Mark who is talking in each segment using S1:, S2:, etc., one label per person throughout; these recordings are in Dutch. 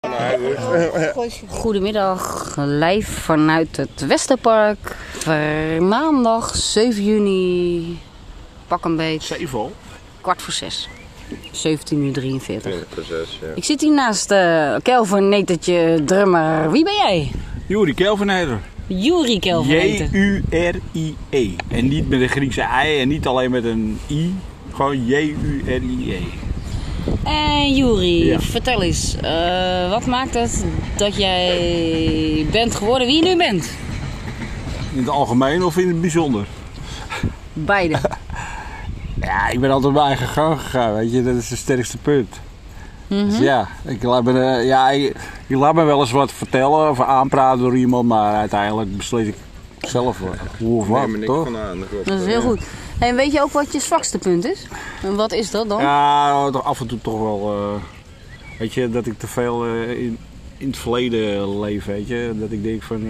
S1: maar goed.
S2: Goedemiddag, live vanuit het Westerpark. Ver- Maandag 7 juni, pak een beetje,
S1: Zeven al?
S2: kwart voor zes. 17 uur 43.
S1: 20 voor zes, ja.
S2: Ik zit hier naast eh Kelvin Netertje Drummer. Wie ben jij?
S1: Juri Kelvenijder.
S2: Juri Kelvin Neter.
S1: J-U-R-I-E. E. En niet met een Griekse ei en niet alleen met een I. Gewoon J-U-R-I-E.
S2: En Juri,
S1: Ja.
S2: Eh, vertel eens, eh, wat maakt het dat jij bent geworden wie je nu bent?
S1: In het algemeen of in het bijzonder?
S2: Beide.
S1: Ja, ik ben altijd mijn eigen gang gegaan, weet je. Dat is het sterkste punt. Dus ja, ik laat, me, eh, ja ik, ik laat me wel eens wat vertellen of aanpraten door iemand, maar uiteindelijk beslis ik zelf wel hoe of wat,
S3: neem er niks
S1: toch?
S3: van ah, aan. Dat klopt.
S2: Dat is heel goed. En weet je ook wat je zwakste punt is? En wat is dat dan?
S1: Ja, toch af en toe toch wel. eh, weet je, dat ik te veel eh, in, in het verleden leef, weet je. Dat ik denk van, eh,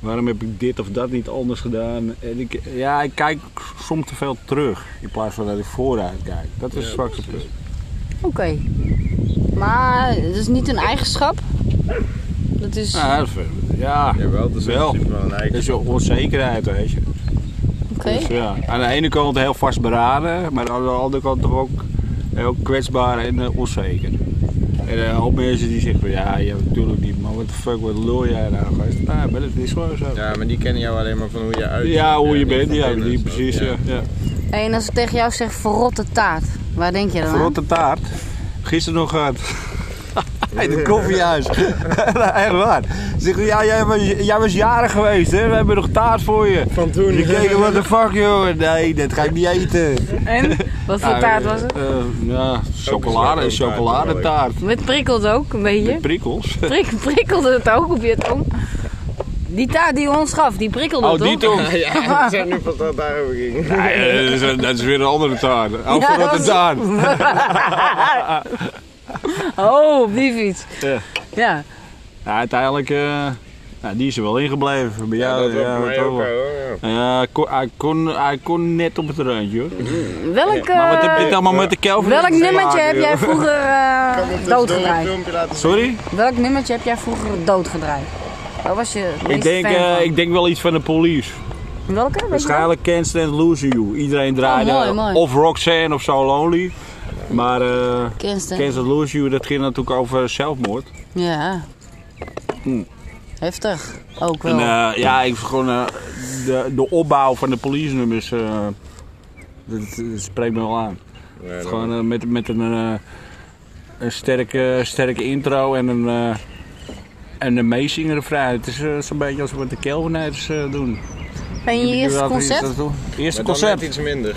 S1: waarom heb ik dit of dat niet anders gedaan? En ik, ja, ik kijk soms te veel terug in plaats van dat ik vooruit kijk. Dat is het zwakste punt.
S2: Oké. Maar dat is niet een eigenschap. Dat is...
S1: Ja, dat is- ja,
S3: Jawel, dat is
S1: Wel.
S3: wel. wel een
S1: dat
S3: eigen.
S1: is een onzekerheid, weet je.
S2: Oké.
S1: Dus ja, aan de ene kant heel vastberaden, maar aan de andere kant toch ook heel kwetsbaar en eh, onzeker. En eh, een hoop mensen die zeggen van ja, ja natuurlijk niet, maar wat de fuck, wat lul jij nou gast? Nou, maar dat is gewoon zo. Ja,
S3: Ja, maar die kennen jou alleen maar van hoe je uit.
S1: hoe je bent,
S3: niet
S1: ja,
S3: van binnen
S1: die,
S3: en zo.
S1: precies. Ja. Ja.
S2: En als ik tegen jou zeg verrotte taart, waar denk je dan aan?
S1: Verrotte taart, gisteren nog gehad. In het koffiehuis. Echt waar. Ze zeggen, ja, jij was, jij was jarig geweest, hè? We hebben nog taart voor je.
S3: Van toen.
S1: Ik keek, what the fuck, joh. Nee, dat ga ik niet eten.
S2: En? Wat voor
S1: Nou,
S2: taart
S1: eh,
S2: was het?
S1: eh, ja, chocolade,
S3: een
S1: een chocoladetaart.
S2: Met prikkels ook, een beetje.
S1: Met prikkels.
S2: Prik, prikkelde het ook op je tong? Die taart die je ons gaf, die prikkelde
S1: Oh,
S2: toch?
S1: die toch?
S3: Ja, ik zei nu pas dat het daarover ging.
S1: Ja, ja, dat, is, een- dat is weer een andere taart. Oh,
S2: Ja,
S1: voor
S2: dat
S1: wat een
S2: is-
S1: taart.
S2: Oh, op die fiets.
S1: Ja.
S2: Ja.
S1: Ja, uiteindelijk, eh, nou, die is er wel ingebleven. Bij jou,
S3: dat was bij mij
S1: dat
S3: ook
S1: wel. Nou
S3: eh. al, hoor. Ja.
S1: Ja, hij kon, hij, kon, hij kon net op het randje hoor.
S2: Welk,
S1: Maar wat heb je
S2: eh,
S1: het allemaal met de Kelvin?
S2: welk
S1: te
S2: nummertje
S1: maken,
S2: heb jij
S1: joh?
S2: vroeger eh,
S3: Ik heb een
S2: doodgedraaid?
S3: Dus filmpje laten zien.
S1: Sorry?
S2: Welk nummertje heb jij vroeger doodgedraaid? Waar was je het
S1: Ik
S2: meest
S1: denk,
S2: fan
S1: eh,
S2: van?
S1: ik denk wel iets van de police.
S2: Welke? Weet je
S1: Waarschijnlijk Can't Stand Losing You. Iedereen draaide
S2: Oh, mooi, mooi.
S1: of Roxanne of So Lonely. Maar eh
S2: wel? Kenste.
S1: Can't Stand Losing You, dat ging natuurlijk over zelfmoord.
S2: Ja. Heftig. Ook wel.
S1: Hm. En eh, ja, ik vind gewoon eh, de, de opbouw van de police nummers, eh, dat, dat spreekt me wel aan.
S3: Nee, dat-
S1: Gewoon eh, met, met een, eh, een sterke, sterke intro en een, eh en een meezingen refrein. Het is eh, zo'n beetje als wat de Kelvinijers eh, doen.
S2: en je eerste concert?
S1: Eerste
S3: Maar dan net
S1: concert,
S3: iets minder.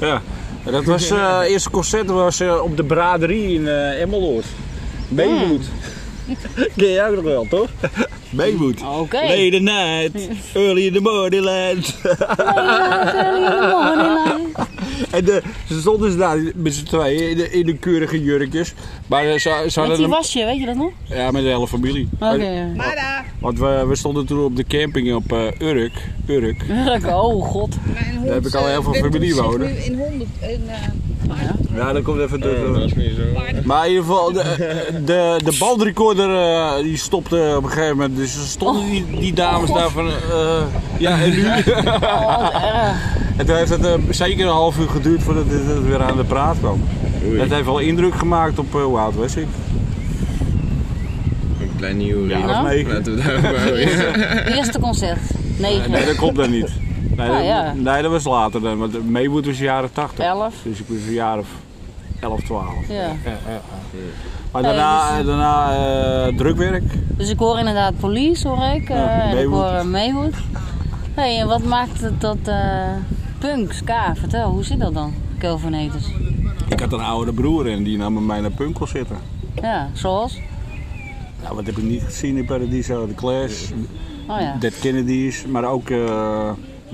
S1: ja. Dat was, eh eerste concert was eh, op de Braderie in eh Emmeloord. Beemoed. Mm. Ken jij ook nog wel, toch? Beemoed.
S2: Oké.
S1: Late at night, early in the morning land. en de, ze stonden ze daar met z'n tweeën in de, in de keurige jurkjes. Maar eh, ze, ze
S2: Met
S1: hadden Oh,
S2: die
S1: een,
S2: wasje, weet je dat nog?
S1: ja, met de hele familie.
S2: Oké.
S1: Want we, we stonden toen op de camping op eh, Urk. Urk.
S2: Oh god.
S4: Mijn hond,
S1: Daar heb ik al
S4: eh,
S1: heel veel
S4: wippelt
S1: familie
S4: zich
S1: wonen.
S4: nu in honden. In, eh,
S1: Ja, dat komt even eh,
S3: Oh, dat is niet zo.
S1: Maar in ieder geval, de, de, de bandrecorder eh, die stopte op een gegeven moment. Dus er stonden die, die dames daar van... eh, ja, en nu? Ah. en toen heeft het eh, zeker een half uur geduurd voordat het, het weer aan de praat kwam.
S3: Oei,
S1: Het heeft wel indruk gemaakt op eh hoe oud was ik?
S3: een klein nieuw.
S1: Ja, dat
S2: Ja?
S1: was negen.
S3: Laten we daarover houden.
S2: Eerste concert.
S1: Nee,
S2: 9.
S1: dat komt dan niet. Nee,
S2: Ah,
S1: dat,
S2: ja.
S1: nee, dat was later dan. Want Maywood was jaren 80.
S2: 11.
S1: Dus ik was een jaar of 11, 12.
S2: Ja.
S1: Maar
S2: Ja,
S1: daarna,
S2: dat
S1: daarna eh, drukwerk.
S2: Dus ik hoor inderdaad police, hoor ik. eh,
S1: Ja,
S2: en ik
S1: Maywood.
S2: hoor eh, Maywood. hey, en wat maakt het dat... eh, punk, ska, vertel, hoe zit dat dan? Kelvin Haters.
S1: Ik had een oudere broer en die nam met mij naar Punkel zitten.
S2: Ja, zoals?
S1: Nou, wat heb ik niet gezien in Paradiso? De Clash,
S2: Oh ja.
S1: Dead Kennedys, maar ook eh,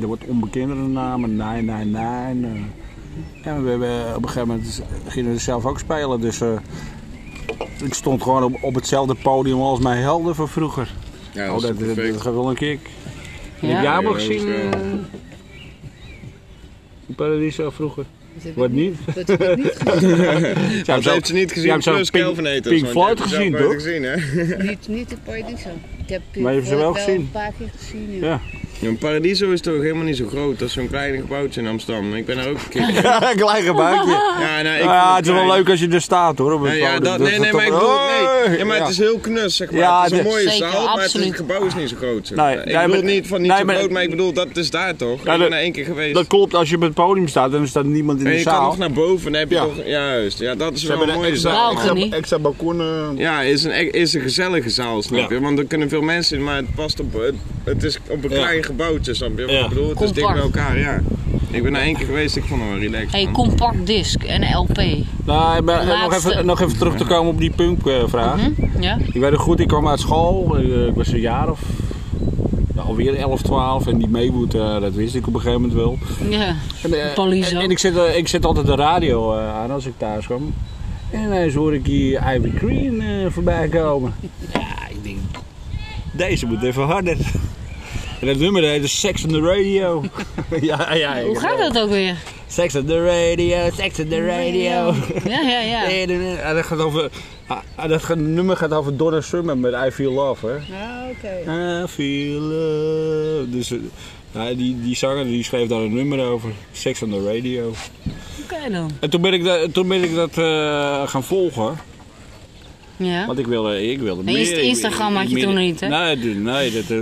S1: er wordt onbekendere namen, 999. eh. en we hebben op een gegeven moment gingen we zelf ook spelen, dus eh, ik stond gewoon op, op hetzelfde podium als mijn helden van vroeger.
S3: Ja,
S1: Oh, dat, dat,
S3: perfect.
S1: dat gaat wel een kick.
S2: Ja?
S1: Heb jij
S3: Ja,
S1: hem al
S3: dat is
S1: gezien?
S3: wel-
S1: eh, in Paradiso vroeger?
S4: Dat heb ik
S1: Wat niet?
S4: niet- Dat heb ik niet gezien.
S1: Jij
S3: Dat heeft ze niet gezien,
S1: jij hebt zo'n
S3: plus
S1: Pink-
S3: Kelvinators.
S1: Pink
S3: want
S1: Floyd
S3: je hebt ze
S1: gezien,
S3: zelf nooit
S1: toch?
S3: gezien, hè?
S4: niet, niet de Paradiso. Ik heb eh,
S1: Maar je hebt ze wel gezien?
S4: een paar keer gezien. Ja.
S1: Ja.
S3: Ja, maar Paradiso is toch helemaal niet zo groot. Dat is zo'n klein gebouwtje in Amsterdam. Ik ben daar ook een keer geweest.
S1: Klein gebouwtje.
S3: Ja, nou, ik
S1: Nou ja,
S3: vond
S1: het is wel
S3: klein.
S1: leuk als je er staat hoor. Op een
S3: Nee, ja,
S1: foto.
S3: dat, nee, nee,
S1: toch-
S3: maar ik bedoel, nee. Ja, maar het
S1: Ja.
S3: is heel knus, zeg maar.
S1: Ja,
S3: het is een
S1: dit-
S3: mooie
S2: Zeker,
S3: zaal, maar het, is-
S2: absoluut.
S3: het gebouw is niet zo groot. Zeg
S1: Nee,
S3: maar.
S1: nee,
S3: ik bedoel
S1: maar-
S3: niet van niet
S1: nee,
S3: zo
S1: maar-
S3: groot, maar ik bedoel, dat is daar toch?
S1: Ja,
S3: ik
S1: dat-
S3: ben er één keer geweest.
S1: Dat klopt, als je op het podium staat en er staat niemand in
S3: en
S1: de
S3: je kan
S1: zaal.
S3: nog naar boven, dan heb je
S1: Ja.
S3: toch... Juist, ja, dat is
S1: Ze
S3: wel
S1: hebben
S3: een
S1: een
S3: mooie
S1: extra-
S3: zaal.
S2: Balkon niet.
S1: Extra balkonnen.
S3: Ja, is een, e- is een gezellige zaal, snap
S1: Ja.
S3: je? Want er kunnen veel mensen in, maar het past op, het, het is op een
S1: Ja.
S3: klein gebouwtje, snap je? Wat
S1: Ja.
S3: Ik bedoel, het is dicht bij
S2: Compact.
S3: elkaar, ja. Ik ben er één keer geweest, ik vond het wel relaxed.
S2: Hey,
S3: man.
S2: compact disc en LP.
S1: Nou, maar eh, nog
S2: Laatste.
S1: even, nog even terug te komen op die punkvraag.
S2: Hm? Ja?
S1: Ik weet het goed, ik kwam uit school. eh, Ik was een jaar of nou, alweer 11, 12. En die Maywood, eh, dat wist ik op een gegeven moment wel.
S2: Ja.
S1: En, eh,
S2: Pallies
S1: en,
S2: ook.
S1: en ik, zet, eh, ik zet altijd de radio eh, aan als ik thuis kwam. En ineens hoor ik die Ivy Green eh, voorbij komen. Ja, ik denk, deze moet even harder. En dat nummer heette Sex on the Radio. ja, ja, ik-
S2: Hoe gaat dat ook weer?
S1: Sex on the radio, sex on the radio.
S2: Ja, ja, ja.
S1: En dat, gaat over, ah, ah, dat gaat- nummer gaat over Donna Summer met I Feel Love, hè?
S4: Ah, oké.
S1: I feel love. Dus eh, nou, die, die zanger die schreef daar een nummer over. Sex on the radio.
S2: Oké dan.
S1: En toen ben ik, da- toen ben ik dat eh, gaan volgen.
S2: Ja.
S1: Want ik wilde, ik wilde meer.
S2: Inst-
S1: Ik- ik-
S2: Instagram had je
S1: meer-
S2: toen nog niet, hè?
S1: Nee, d- nee dat, eh,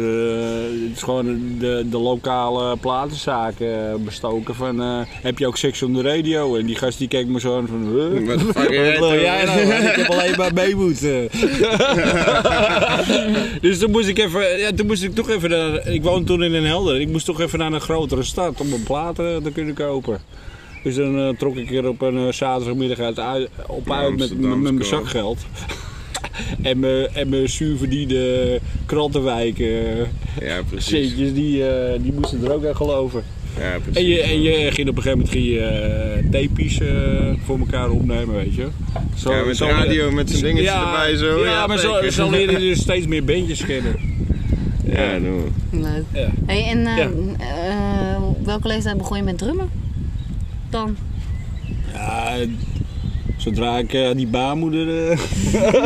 S1: het is gewoon de, de lokale platenzaken bestoken. Van, eh, heb je ook seks on the radio? En die gast die keek me zo aan van... huh?
S3: Wat de fuck
S1: Wat wil jij nou? Ik heb alleen maar mee moeten. dus toen moest ik even, ja, toen moest ik toch even naar, ik woonde toen in Den Helder. Ik moest toch even naar een grotere stad om een platen te kunnen kopen. Dus dan eh, trok ik er op een eh, zaterdagmiddag uit, uit- op
S3: Naar
S1: uit met- met, met mijn
S3: Amsterdamse koop.
S1: zakgeld. en mijn en mijn zuurverdiende krantenwijken. eh,
S3: Ja, precies.
S1: Centjes, die, eh, die moesten er ook aan geloven.
S3: Ja, precies.
S1: En je, en je ging op een gegeven moment ging je, eh, tapejes eh, voor elkaar opnemen, weet je. Zo,
S3: Ja, met de radio, met zo'n dingetje erbij
S1: Ja,
S3: zo. Ja,
S1: maar zo,
S3: zeker.
S1: zo leer je dus steeds meer bandjes kennen. eh,
S3: Ja, doe.
S2: Leuk.
S1: Ja.
S2: Hey, en eh,
S1: Ja.
S2: eh, welke leeftijd begon je met drummen? Dan?
S1: Ja, zodra ik eh, die baarmoeder... eh,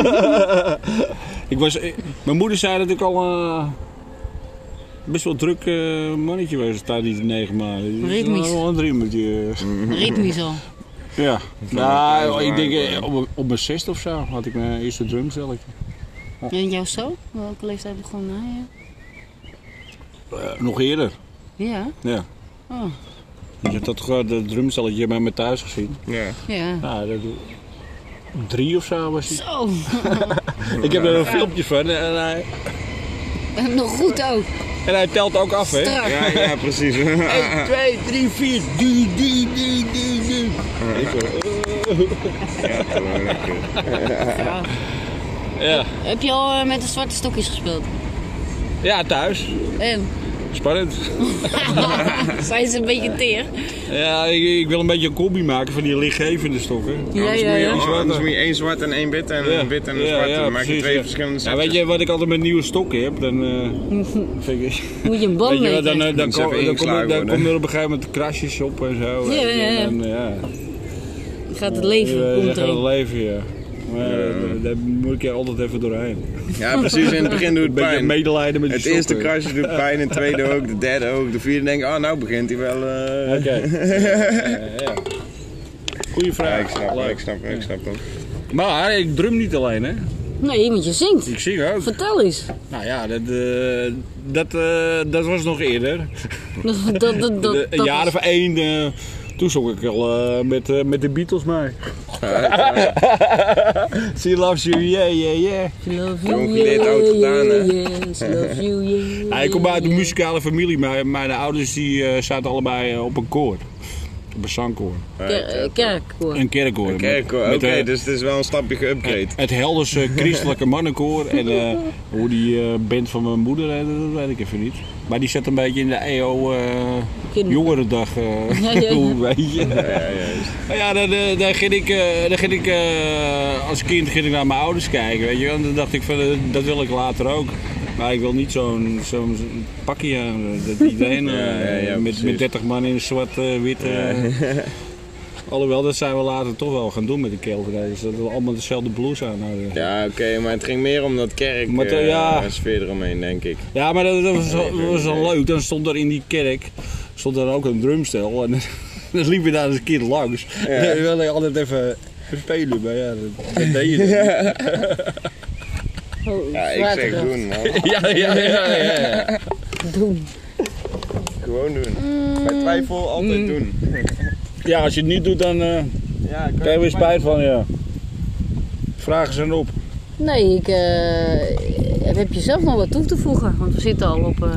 S1: ik was, eh, mijn moeder zei dat ik al eh, best wel druk eh, mannetje was tijdens die negen maanden.
S2: Ritmisch.
S1: Wel een driemetje.
S3: Mm.
S2: Ritmisch al.
S1: Ja. Nou, ik denk eh,
S3: Ja.
S1: op, op mijn zesde of zo had ik mijn eerste drumcelletje.
S2: En jou zo? Welke leeftijd begon hij?
S1: Eh, nog eerder.
S2: Ja.
S1: Ja.
S2: Oh.
S1: Je hebt dat eh, dat drumstelletje bij me thuis gezien.
S3: Ja.
S2: Ja.
S1: Nou, dat, drie of zo was die.
S2: Zo.
S1: Ik heb er een filmpje van en hij,
S2: Nog goed ook.
S1: en hij telt ook af, hè?
S2: Strak.
S3: Ja, ja, precies.
S1: 1, 2, 3, 4. Du, du, du, du, du.
S3: Gewoon lekker.
S1: Ja.
S2: Heb je al eh, met de zwarte stokjes gespeeld?
S1: ja, thuis.
S2: En?
S1: Spannend.
S2: Zijn ze een beetje teer?
S1: Ja, ik, ik wil een beetje een combi maken van die lichtgevende stokken.
S2: Ja,
S3: Anders
S2: ja,
S3: moet je-
S2: ja.
S3: oh, Anders moet je één zwart en één wit en
S1: Ja.
S3: een wit en een
S1: Ja,
S3: zwart.
S1: ja,
S3: dan maak je
S1: precies,
S3: twee
S1: ja.
S3: verschillende
S1: Ja,
S3: setjes.
S1: weet je wat ik altijd met nieuwe stokken heb? Dan, eh, vind ik-
S2: Moet je een band
S1: Weet je
S2: mee
S1: wat, dan, eh, dan,
S3: Moet ze
S1: kom-
S3: even
S1: dan, kom,
S3: ingeslagen
S1: dan
S3: worden.
S1: komen er op een gegeven moment krasjes op en zo.
S2: Ja, ja, ja.
S1: En dan, ja.
S2: Gaat het leven
S1: Eh,
S2: komt
S1: dat gaat het
S2: erin.
S1: leven, ja. Maar ja, daar- daar moet ik er altijd even doorheen.
S3: Ja, precies. In het begin doet
S1: Een
S3: het
S1: beetje
S3: pijn.
S1: medelijden met
S3: Het
S1: die
S3: eerste
S1: stokken.
S3: krasje doet pijn, het tweede ook, de derde ook, de vierde denk ik, oh nou begint hij wel. eh.
S1: Oké. Eh, ja. Goeie
S3: Ja,
S1: vraag.
S3: ik snap hem,
S1: Leuk.
S3: ik snap hem, ik snap hem.
S1: Maar ik drum niet alleen, hè.
S2: Nee, want je zingt.
S1: Ik zing ook.
S2: Vertel eens.
S1: Nou ja, dat, eh, dat, eh, dat was nog eerder.
S2: Dat, dat, dat,
S1: De-
S2: dat
S1: een jaar
S2: is-
S1: of één, eh, toen zong ik al eh, met, eh, met de Beatles mee.
S3: eh.
S1: She loves you, yeah, yeah, yeah.
S2: She love
S3: Jong
S2: you,
S3: geleerd,
S2: yeah,
S3: oud gedaan, hè?
S2: yeah, yeah. She love you, yeah,
S1: Nou, ik kom uit een
S2: yeah.
S1: muzikale familie. Mijn, mijn ouders die, eh, zaten allebei eh, op een koor. Op een zangkoor.
S2: Ker- eh, Kerk, hoor.
S1: Een kerkkoor.
S3: Een kerk,
S1: Met-
S3: oké,
S1: met, eh,
S3: dus het is wel een stapje geüpgrade.
S1: Het Helderse Christelijke Mannenkoor. En eh, hoe die eh, band van mijn moeder heette, dat weet ik even niet. Maar die zat een beetje in de EO eh
S2: Kinder-
S1: Jongerendag. eh,
S2: Ja, ja, ja.
S1: hoe weet je. Maar ja, dan, eh, dan ging ik, eh, dan ging ik eh, als kind ging ik naar mijn ouders kijken. Weet je. wel. En dan dacht ik van eh, dat wil ik later ook. Maar ik wil niet zo'n zo'n pakje aan. Dat iedereen eh,
S3: Ja, ja, ja,
S1: met,
S3: precies.
S1: met 30 man in zwart-wit. eh, Alhoewel, dat zijn we later toch wel gaan doen met de Kelvinijders. Dat we allemaal dezelfde blouse aan hadden.
S3: Ja, oké, maar het ging meer om dat kerk
S1: Maar te-
S3: eh,
S1: ja.
S3: sfeer eromheen, denk ik.
S1: Ja, maar dat, dat was, wel- dat was
S3: Nee.
S1: wel leuk. Dan stond er in die kerk stond er ook een drumstel. En dan liep je daar eens een keer langs.
S3: Ja.
S1: Ja. Dan wilde je altijd even spelen. Maar ja, dat, dat deed je niet.
S2: Oh,
S3: Ja, ik
S2: water
S3: zeg
S2: erop.
S3: doen, man.
S1: Ja, ja, ja, ja. ja.
S2: Doen.
S3: Gewoon doen.
S2: Mm.
S3: Bij twijfel altijd doen.
S1: Ja, als je het niet doet, dan eh
S3: Ja, ik
S1: krijg je weer spijt van, ja. Vragen zijn op.
S2: Nee, ik eh, heb je zelf nog wat toe te voegen. Want we zitten al op eh,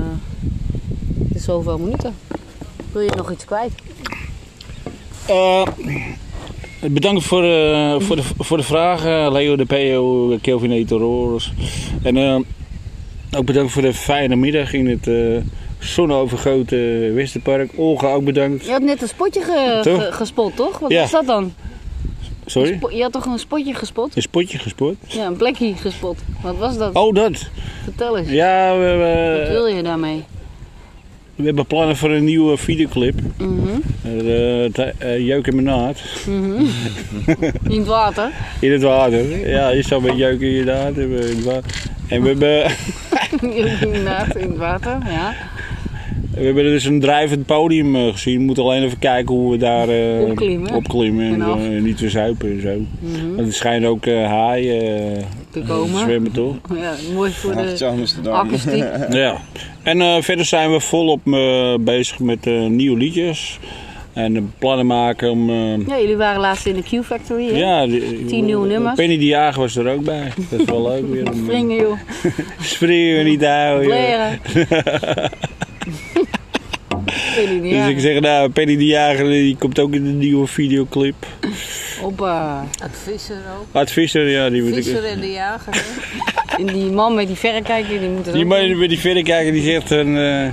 S2: de zoveel minuten. Wil je nog iets kwijt?
S1: Eh, bedankt voor, eh, voor, de, voor de vragen, Leo de Peo, Kelvin Etororos. En eh, ook bedankt voor de fijne middag in het eh zonovergoten Westerpark. Olga ook bedankt.
S2: Je had net een spotje ge-
S1: Toch?
S2: ge- gespot, toch? Wat
S1: Ja.
S2: was dat dan?
S1: Sorry,
S2: Spo- je had toch een spotje gespot?
S1: een spotje gespoord.
S2: Ja, een plekje gespot. Wat was dat?
S1: Oh, dat.
S2: Vertel eens.
S1: Ja, we,
S2: Wat wil
S1: we,
S2: je daarmee?
S1: we hebben plannen voor een nieuwe videoclip.
S2: Mhm.
S1: Eh, t- eh, Jeuk in mijn naad.
S2: mhm. In het water.
S1: In het water. Ja, je zou met jeuk in je naad hebben. in het wa- En we hebben...
S2: Inderdaad, in het water, ja.
S1: We hebben dus een drijvend podium eh, gezien. We moeten alleen even kijken hoe we daar eh,
S2: Opklimmen.
S1: opklimmen en
S2: En af.
S1: eh, niet te zuipen en zo.
S2: Mhm.
S1: Want er schijnen ook eh, haaien eh,
S2: Te
S1: te
S2: komen.
S1: zwemmen, toch?
S2: Ja, mooi voor de
S3: Amsterdam.
S2: akoestiek.
S1: ja. En eh, verder zijn we volop eh, bezig met eh, nieuwe liedjes. En eh, plannen maken om... eh,
S2: Ja, jullie waren laatst in de Q-Factory, hè?
S1: ja, die- eh,
S2: Tien nieuwe nummers.
S1: Penny de Jager was er ook bij. Dat is wel leuk weer. om- eh,
S2: Springen, joh.
S1: Springen niet houden.
S2: Bleren. Weet ik niet,
S1: Dus
S2: ja.
S1: ik zeg, nou, Penny de Jager die komt ook in de nieuwe videoclip.
S2: Hoppa.
S5: Het visser ook.
S1: Art Visser, ja, die moet ik...
S5: Visser en de jager. hè?
S2: En die man met die verrekijker, die moet er
S1: Die
S2: ook
S1: man met die verrekijker die zegt een... eh,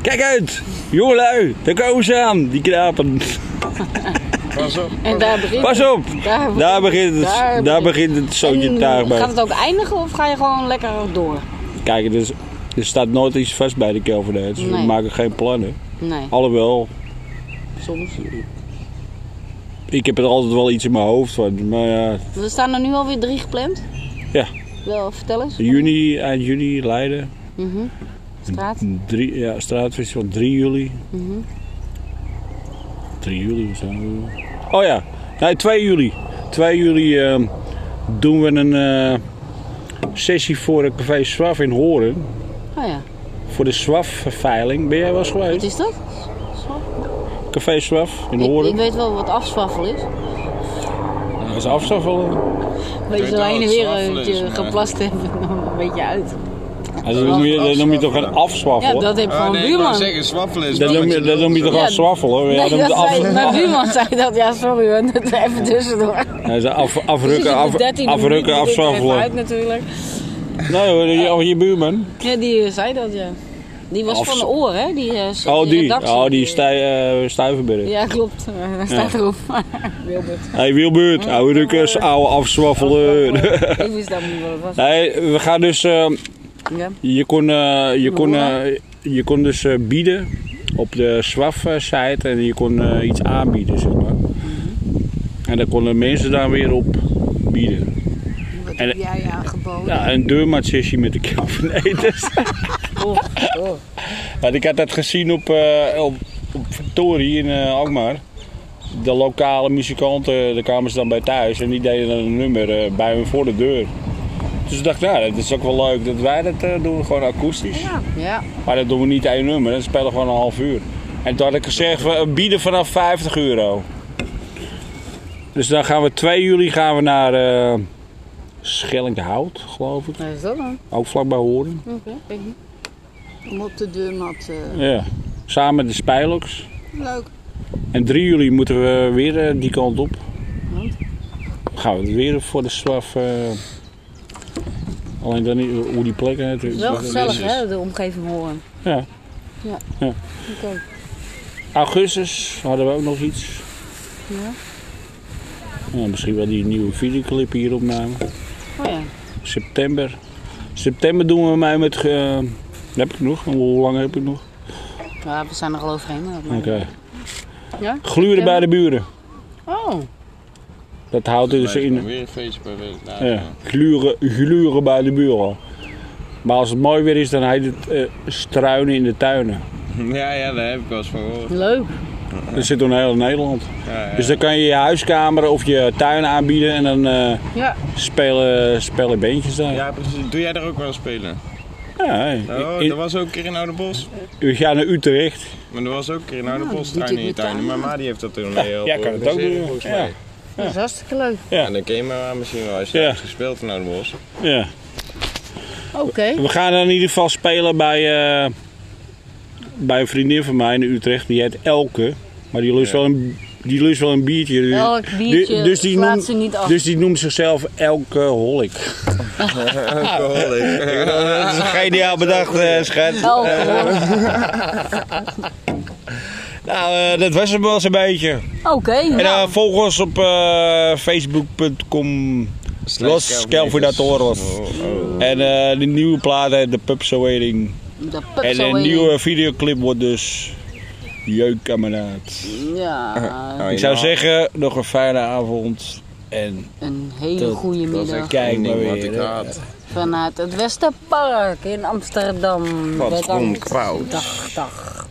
S1: Kijk uit! Jongelui, daar komen ze aan, die knapen.
S3: Pas op.
S2: in. En daar begint
S1: Pas op!
S2: Daar,
S1: Daar begint het, daar, begint het zootje
S2: En eh,
S1: taart bij.
S2: Gaat het ook eindigen of ga je gewoon lekker door?
S1: Kijk, dus, er staat nooit iets vast bij de Kelvin Heights. We
S2: Nee.
S1: maken geen plannen.
S2: Nee,
S1: Alhoewel,
S2: soms.
S1: ik heb er altijd wel iets in mijn hoofd van. Maar ja,
S2: Er staan er nu alweer drie gepland.
S1: Ja.
S2: Wel, vertel eens.
S1: juni, eind juni, Leiden.
S2: Mhm. Straat.
S1: 3, ja, straatfestival 3 juli.
S2: Mhm.
S1: 3 juli, we zijn we? Oh ja, nee, 2 juli. 2 juli ehm, doen we een eh, sessie voor het café Swaf in Horen.
S2: Oh ja,
S1: Voor de Swaf-veiling. Ben jij wel eens
S2: wat
S1: geweest?
S2: is dat?
S1: Café Swaf in
S2: Ik, ik
S1: Horen.
S2: weet wel wat afzwaffel is.
S1: Dat is afstaffelen.
S2: Weet je
S3: weet
S2: zo
S3: wel
S2: heen en
S3: wat
S2: weer
S3: zwaffelen
S2: dat je
S3: is, maar-
S2: geplast hebt en dan een beetje uit.
S1: Dat noem je, dat noem je toch een
S2: Ja,
S1: afswaffelen?
S2: dat heeft
S3: Oh,
S2: gewoon
S3: nee, ik wou
S2: buurman.
S3: zeggen, zwaffelen is
S1: dat,
S3: wel
S1: noem je,
S3: met
S1: dat
S3: je
S1: noem je toch
S3: lul,
S2: Ja,
S1: afswaffelen? Ja,
S2: Nee,
S1: dat moet
S2: dat
S1: af,
S2: zei, mijn buurman zei dat. Ja, sorry hoor, dat even tussendoor.
S1: Ja, dat is af,
S2: Dus is
S1: afrukken,
S2: het
S1: af,
S2: de 13e minuut,
S1: afrukken,
S2: die denkt er even uit
S1: afswaffelen.
S2: natuurlijk.
S1: Nee hoor, je, je buurman.
S2: Ja, die eh, zei dat, ja. Die was
S1: Of
S2: van
S1: zo-
S2: de oor, hè? Die, eh, s-
S1: Oh die,
S2: redactie.
S1: oh, die stij, eh Stuyvenberg.
S2: Ja, klopt. Eh, Daar staat erop. Wilbert.
S1: Hey Wilbert, oude rukkers, oude afzwaffelen.
S2: Ik wist dat niet wat het was.
S1: Nee, we gaan dus. eh,
S2: Ja.
S1: je, kon, eh, je, kon, eh, je kon dus eh, bieden op de SWAF-site en je kon eh, iets aanbieden, zeg maar.
S5: Mhm.
S1: En daar konden mensen daar weer op bieden.
S5: Wat
S1: En-
S5: heb jij aangeboden?
S1: Ja, een deurmatsessie met de Calvinators.
S2: Oh, oh.
S1: Want ik had dat gezien op, eh op, op Victorie in eh, Alkmaar. De lokale muzikanten, eh, daar kwamen ze dan bij thuis en die deden dan een nummer eh, bij hun voor de deur. Dus ik dacht, nou, dat is ook wel leuk dat wij dat eh, doen, gewoon akoestisch.
S2: Ja.
S1: Maar dat doen we niet één nummer, dat spelen we gewoon een half uur. En toen had ik gezegd, we bieden vanaf 50 euro. Dus dan gaan we 2 juli gaan we naar eh Schellinghout, geloof ik.
S2: Wat is dat dan?
S1: Ook vlakbij Horen.
S2: Oké. weet ik niet.
S5: Om op de deurmat. eh,
S1: Ja. Samen met de Spijlox.
S5: leuk.
S1: En 3 juli moeten we weer eh, die kant op. Dan gaan we weer voor de straf. eh, alleen dan niet hoe die plekken heet.
S2: Het is wel
S3: Wat
S2: gezellig,
S3: is het?
S2: hè? De omgeving horen.
S1: Ja.
S2: Ja.
S1: Ja.
S2: Oké.
S1: Augustus hadden we ook nog iets.
S2: Ja.
S1: Ja, misschien wel die nieuwe videoclip hier opnamen.
S2: Oh ja.
S1: September. September doen we mij met. eh, heb ik nog? Hoe lang heb ik nog?
S2: Ja, we zijn er al overheen. maar dat
S1: Oké.
S2: maakt niet uit. Ja?
S1: Gluren bij de buren.
S2: Oh,
S1: Dat houdt dus
S3: Blijft dan
S1: in
S3: Weer een feestje per week. Nou, later.
S1: ja, gluren, gluren bij de buren. Maar als het mooi weer is, dan heet het eh, struinen in de tuinen.
S3: ja, ja, daar heb ik wel eens van gehoord.
S2: leuk.
S1: Dat zit door heel Nederland.
S3: Ja, ja.
S1: Dus dan kan je je huiskamer of je tuin aanbieden en dan eh,
S2: Ja.
S1: spelen, spelen beentjes daar. Ja,
S3: Ja, precies. Doe jij daar ook wel eens spelen?
S1: in-
S3: Oh,
S6: Nou,
S1: in-
S3: er was ook een keer in Oude Bos.
S1: we gaan naar Utrecht.
S3: Maar er was ook een keer in Oude Bos
S2: Nou, doet
S3: tuin in
S2: hij
S3: je
S2: met
S3: tuin.
S2: tuin.
S3: Maar Ma die heeft dat toen mee helpen
S1: Ja, kan het ook
S3: organiseren,
S1: doen.
S3: volgens
S1: Ja.
S3: mij.
S2: Dat is hartstikke leuk.
S1: Ja.
S3: En dan ken je maar misschien wel als je
S1: Ja.
S3: daar hebt gespeeld in Oude Bos.
S1: Ja.
S2: Oké.
S1: We gaan in ieder geval spelen bij, eh, bij een vriendin van mij in Utrecht. Die heet Elke. Maar die lust, wel, een, die lust wel een biertje. Dus-
S2: Elk biertje
S1: dus die
S2: slaat
S1: noemt-
S2: ze niet af.
S1: Dus die noemt zichzelf Elke Holik.
S3: Oh, Alcoholic.
S6: Eh,
S1: Dat is geniaal bedacht, eh schat.
S2: Elk woord.
S6: Nou, eh, dat was hem wel zo'n beetje.
S2: Oké.
S6: En
S2: nou.
S6: eh, volg ons op eh, facebook.com. Los Calvinatoros.
S3: Oh,
S6: En eh, de nieuwe plaat heet The Pubs Awaiting.
S2: De
S6: En
S2: pups
S6: de
S2: alweer.
S6: nieuwe videoclip wordt dus... Jeuk, kameraad.
S3: oh.
S2: Ja,
S6: Ik zou zeggen, nog een fijne avond. En
S2: een hele
S6: Dat-
S2: goede middag.
S6: kijk maar
S3: ding wat
S6: weer.
S3: ik
S6: hè.
S3: haat.
S2: Vanuit het Westerpark in Amsterdam.
S3: Wat
S2: Bij dan-
S3: onkwouds.
S2: Dag, dag.